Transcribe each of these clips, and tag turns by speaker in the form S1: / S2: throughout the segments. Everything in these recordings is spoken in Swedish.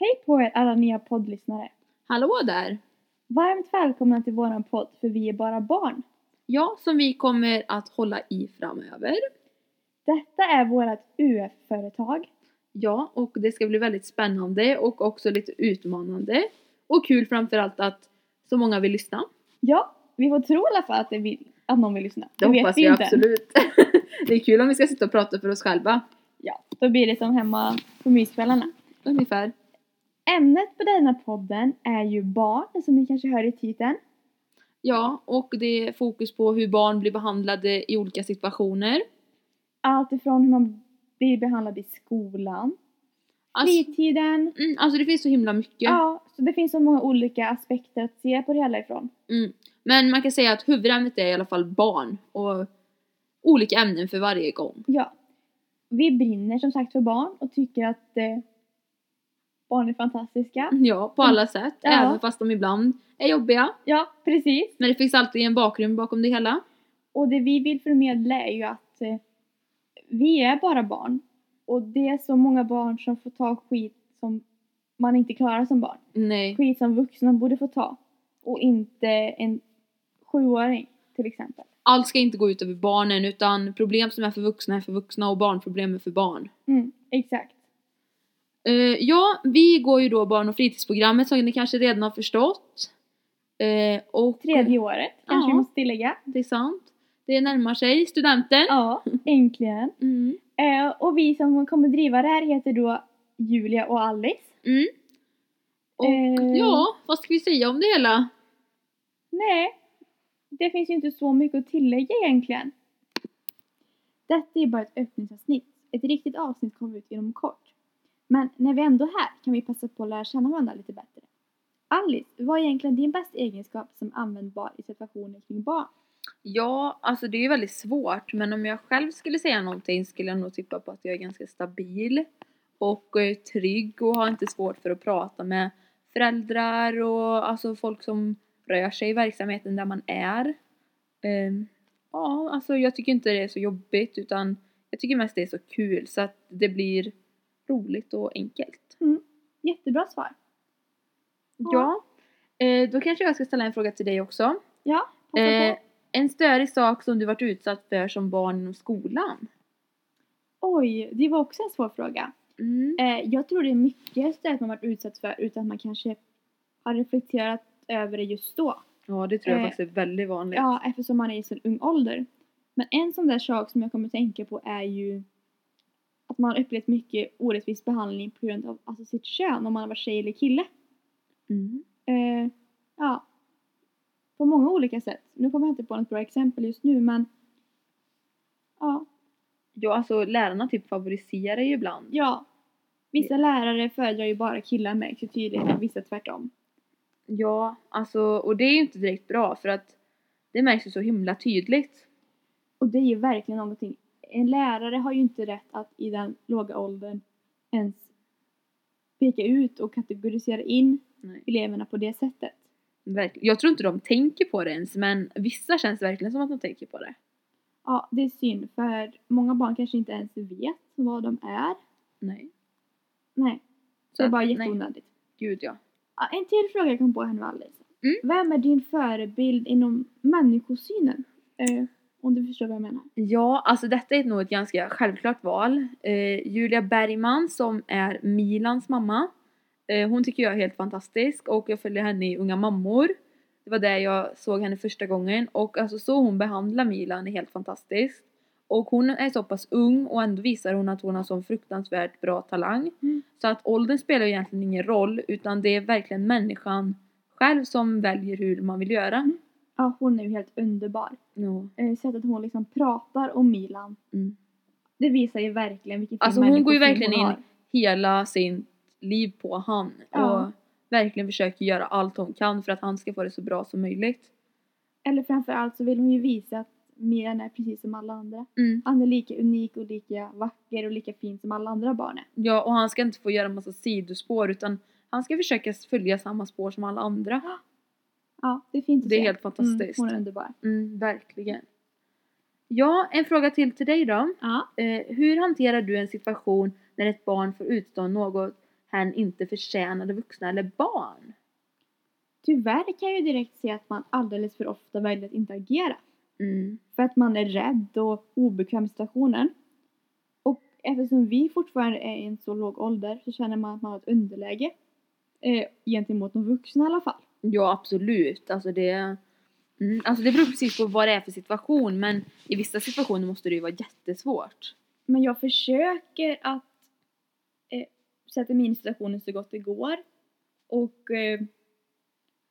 S1: Hej på er alla nya poddlyssnare!
S2: Hallå där!
S1: Varmt välkomna till våran podd för vi är bara barn.
S2: Ja, som vi kommer att hålla i framöver.
S1: Detta är vårt UF-företag.
S2: Ja, och det ska bli väldigt spännande och också lite utmanande. Och kul framförallt att så många vill lyssna.
S1: Ja, vi får tro i alla fall att, det vill, att någon vill lyssna.
S2: Det
S1: vet
S2: hoppas
S1: vi
S2: jag
S1: inte.
S2: absolut. det är kul om vi ska sitta och prata för oss själva.
S1: Ja, då blir det som hemma på myskvällarna.
S2: Ungefär.
S1: Ämnet på denna podden är ju barn, som ni kanske hör i titeln.
S2: Ja, och det är fokus på hur barn blir behandlade i olika situationer.
S1: Allt ifrån hur man blir behandlad i skolan,
S2: Alltså,
S1: fritiden.
S2: mm, alltså det finns så himla mycket.
S1: Ja, så det finns så många olika aspekter att se på det hela ifrån.
S2: Mm. Men man kan säga att huvudämnet är i alla fall barn och olika ämnen för varje gång.
S1: Ja. Vi brinner som sagt för barn och tycker att eh, barn är fantastiska.
S2: Ja, på alla sätt.
S1: Mm. Ja.
S2: Även fast de ibland är jobbiga.
S1: Ja, precis.
S2: Men det finns alltid en bakgrund bakom det hela.
S1: Och det vi vill förmedla är ju att eh, vi är bara barn. Och det är så många barn som får ta skit som man inte klarar som barn.
S2: Nej.
S1: Skit som vuxna borde få ta. Och inte en sjuåring till exempel.
S2: Allt ska inte gå ut över barnen utan problem som är för vuxna är för vuxna och barnproblem är för barn.
S1: Mm, exakt.
S2: Eh, ja, vi går ju då barn och fritidsprogrammet som ni kanske redan har förstått. Eh, och
S1: Tredje året kanske vi
S2: Ja.
S1: måste tillägga.
S2: Det är sant. Det närmar sig studenten.
S1: Ja, äntligen.
S2: Mm.
S1: Eh, och vi som kommer driva det här heter då Julia och Alice.
S2: Mm. Och
S1: Eh.
S2: ja, vad ska vi säga om det hela?
S1: Nej, det finns ju inte så mycket att tillägga egentligen. Detta är bara ett öppningsavsnitt. Ett riktigt avsnitt kommer ut inom kort. Men när vi ändå är här kan vi passa på att lära känna varandra lite bättre. Alice, vad är egentligen din bästa egenskap som användbar i situationer kring barn?
S2: Ja, alltså det är ju väldigt svårt men om jag själv skulle säga någonting skulle jag nog tippa på att jag är ganska stabil och eh, trygg och har inte svårt för att prata med föräldrar och alltså folk som rör sig i verksamheten där man är. Ehm, ja, alltså jag tycker inte det är så jobbigt utan jag tycker mest det är så kul så att det blir roligt och enkelt.
S1: Jättebra svar.
S2: Ja, eh, då kanske jag ska ställa en fråga till dig också.
S1: Passa
S2: Eh,
S1: på.
S2: en störig sak som du varit utsatt för som barn inom skolan?
S1: Oj, det var också en svår fråga.
S2: Mm.
S1: Eh, jag tror det är mycket stöd man varit utsatt för utan att man kanske har reflekterat över det just då.
S2: Ja, det tror jag
S1: eh,
S2: faktiskt är väldigt vanligt.
S1: Ja, eftersom man är i så ung ålder. Men en sån där sak som jag kommer att tänka på är ju att man har upplevt mycket orättvis behandling på grund av alltså, sitt kön, om man har varit tjej eller kille.
S2: Mm.
S1: Eh, ja. På många olika sätt. Nu kommer jag inte på något bra exempel just nu, men ja.
S2: ja, alltså lärarna typ favoriserar ju ibland.
S1: ja. Vissa lärare föredrar ju bara killar märks ju tydligt, vissa tvärtom.
S2: Ja, alltså och det är ju inte direkt bra för att det märks ju så himla tydligt.
S1: Och det är ju verkligen någonting. En lärare har ju inte rätt att i den låga åldern ens peka ut och kategorisera in
S2: Nej.
S1: eleverna på det sättet.
S2: Verk- jag tror inte de tänker på det ens men vissa känns verkligen som att de tänker på det.
S1: Ja, det är synd för många barn kanske inte ens vet vad de är.
S2: Nej.
S1: Nej, så det är
S2: att-
S1: bara
S2: nej.
S1: jätteonödigt.
S2: Gud ja.
S1: Ja, en till fråga jag kom på här nu Alice.
S2: Mm.
S1: Vem är din förebild inom människosynen? Eh, om du förstår vad jag menar.
S2: Ja, alltså detta är nog ett ganska självklart val. Eh, Julia Bergman som är Milans mamma. Eh, hon tycker jag är helt fantastisk och jag följer henne i Unga mammor. Det var där jag såg henne första gången och alltså så hon behandlar Milan är helt fantastiskt. Och hon är så pass ung och ändå visar hon att hon har sån fruktansvärt bra talang.
S1: Mm.
S2: Så att åldern spelar ju egentligen ingen roll utan det är verkligen människan själv som väljer hur man vill göra.
S1: Ja, hon är ju helt underbar.
S2: Ja.
S1: Eh, sättet hon liksom pratar om Milan.
S2: Mm.
S1: Det visar ju verkligen vilken fin
S2: Alltså, hon går
S1: människosyn
S2: ju verkligen
S1: hon
S2: in
S1: har.
S2: hela sin liv på han
S1: Ja.
S2: och verkligen försöker göra allt hon kan för att han ska få det så bra som möjligt.
S1: Eller framförallt så vill hon ju visa att Miran är precis som alla andra.
S2: Mm.
S1: Han är lika unik och lika vacker och lika fin som alla andra barn är.
S2: Ja, och han ska inte få göra massa sidospår utan han ska försöka följa samma spår som alla andra.
S1: Ja, det är fint att
S2: Det är
S1: se.
S2: helt fantastiskt.
S1: Mm, hon är underbar.
S2: Mm, verkligen. Ja, en fråga till till dig då.
S1: Ja.
S2: Eh, hur hanterar du en situation när ett barn får utstå något hen inte förtjänade vuxna eller barn.
S1: Tyvärr kan jag ju direkt se att man alldeles för ofta väljer att inte agera.
S2: Mm.
S1: För att man är rädd och obekväm i situationen. Och eftersom vi fortfarande är i en så låg ålder så känner man att man har ett underläge. Eh, gentemot de vuxna i alla fall.
S2: Ja, absolut. Alltså det, mm, alltså det beror precis på vad det är för situation men i vissa situationer måste det ju vara jättesvårt.
S1: Men jag försöker att eh, sätta mig in i situationen så gott det går. Och eh,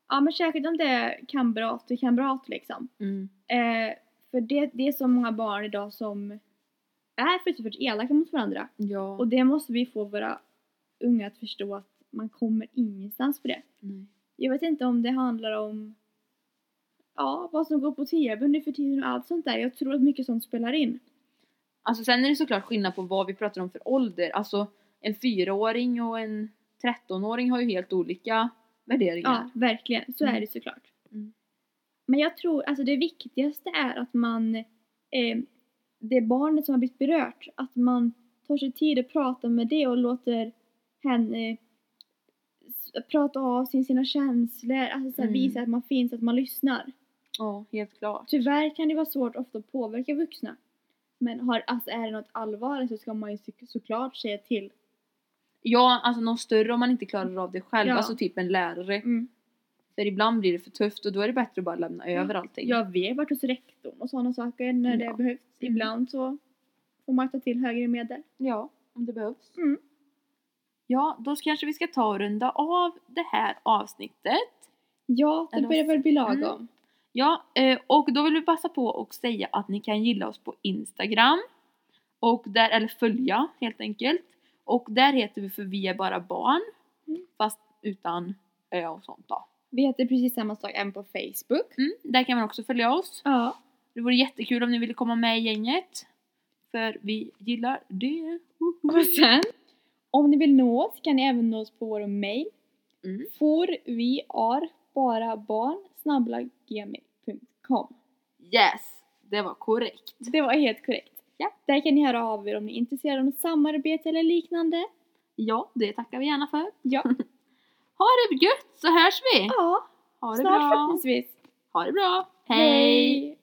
S1: ja men särskilt om det är kamrat till kamrat liksom.
S2: Mm.
S1: Eh, för det, det är så många barn idag som är fruktansvärt elaka mot varandra.
S2: Ja.
S1: Och det måste vi få våra unga att förstå att man kommer ingenstans för det.
S2: nej.
S1: Jag vet inte om det handlar om ja, vad som går på tv nu för tiden och allt sånt där. Jag tror att mycket sånt spelar in.
S2: Alltså sen är det såklart skillnad på vad vi pratar om för ålder. Alltså en fyraåring och en trettonåring har ju helt olika värderingar.
S1: Ja, verkligen. Så är
S2: Mm.
S1: det såklart.
S2: Mm.
S1: Men jag tror, alltså det viktigaste är att man, eh, det barnet som har blivit berört, att man tar sig tid att prata med det och låter henne eh, s- prata av sin, sina känslor, alltså så här,
S2: Mm.
S1: visa att man finns, att man lyssnar.
S2: Ja, helt klart.
S1: Tyvärr kan det vara svårt ofta att påverka vuxna. Men har, alltså, är det något allvarligt så ska man ju så- såklart säga till.
S2: Ja, alltså någon större om man inte klarar av det själv.
S1: Ja.
S2: Alltså typ en lärare. För ibland blir det för tufft och då är det bättre att bara lämna över allting.
S1: Jag vet varit hos rektorn och sådana saker när
S2: Ja. Mm.
S1: det behövs. Ibland så får man ta till högre medel.
S2: Ja, om det behövs.
S1: Mm.
S2: Ja, då kanske vi ska ta och runda av det här avsnittet.
S1: Ja, det
S2: Eller-
S1: börjar väl bli lagom.
S2: Mm. Ja, eh, och då vill vi passa på och säga att ni kan gilla oss på Instagram. Och där, eller följa helt enkelt. Och där heter vi för Vi är bara barn.
S1: Mm.
S2: Fast utan ö och sånt då.
S1: Vi heter precis samma sak även på Facebook.
S2: Mm, där kan man också följa oss.
S1: Ja.
S2: Det vore jättekul om ni ville komma med i gänget. För vi gillar det.
S1: Och sen, om ni vill nå oss kan ni även nå oss på vår mail.
S2: Mm.
S1: For vi är bara barn snabbla gmail.com.
S2: Yes, det var korrekt.
S1: Det var helt korrekt.
S2: Ja.
S1: Där kan ni höra av er om ni är intresserade av samarbete eller liknande.
S2: Ja, det tackar vi gärna för.
S1: Ja,
S2: Ha det gött så hörs vi!
S1: ja
S2: Ha det
S1: snart
S2: bra!
S1: förhoppningsvis.
S2: Ha det bra! Hej.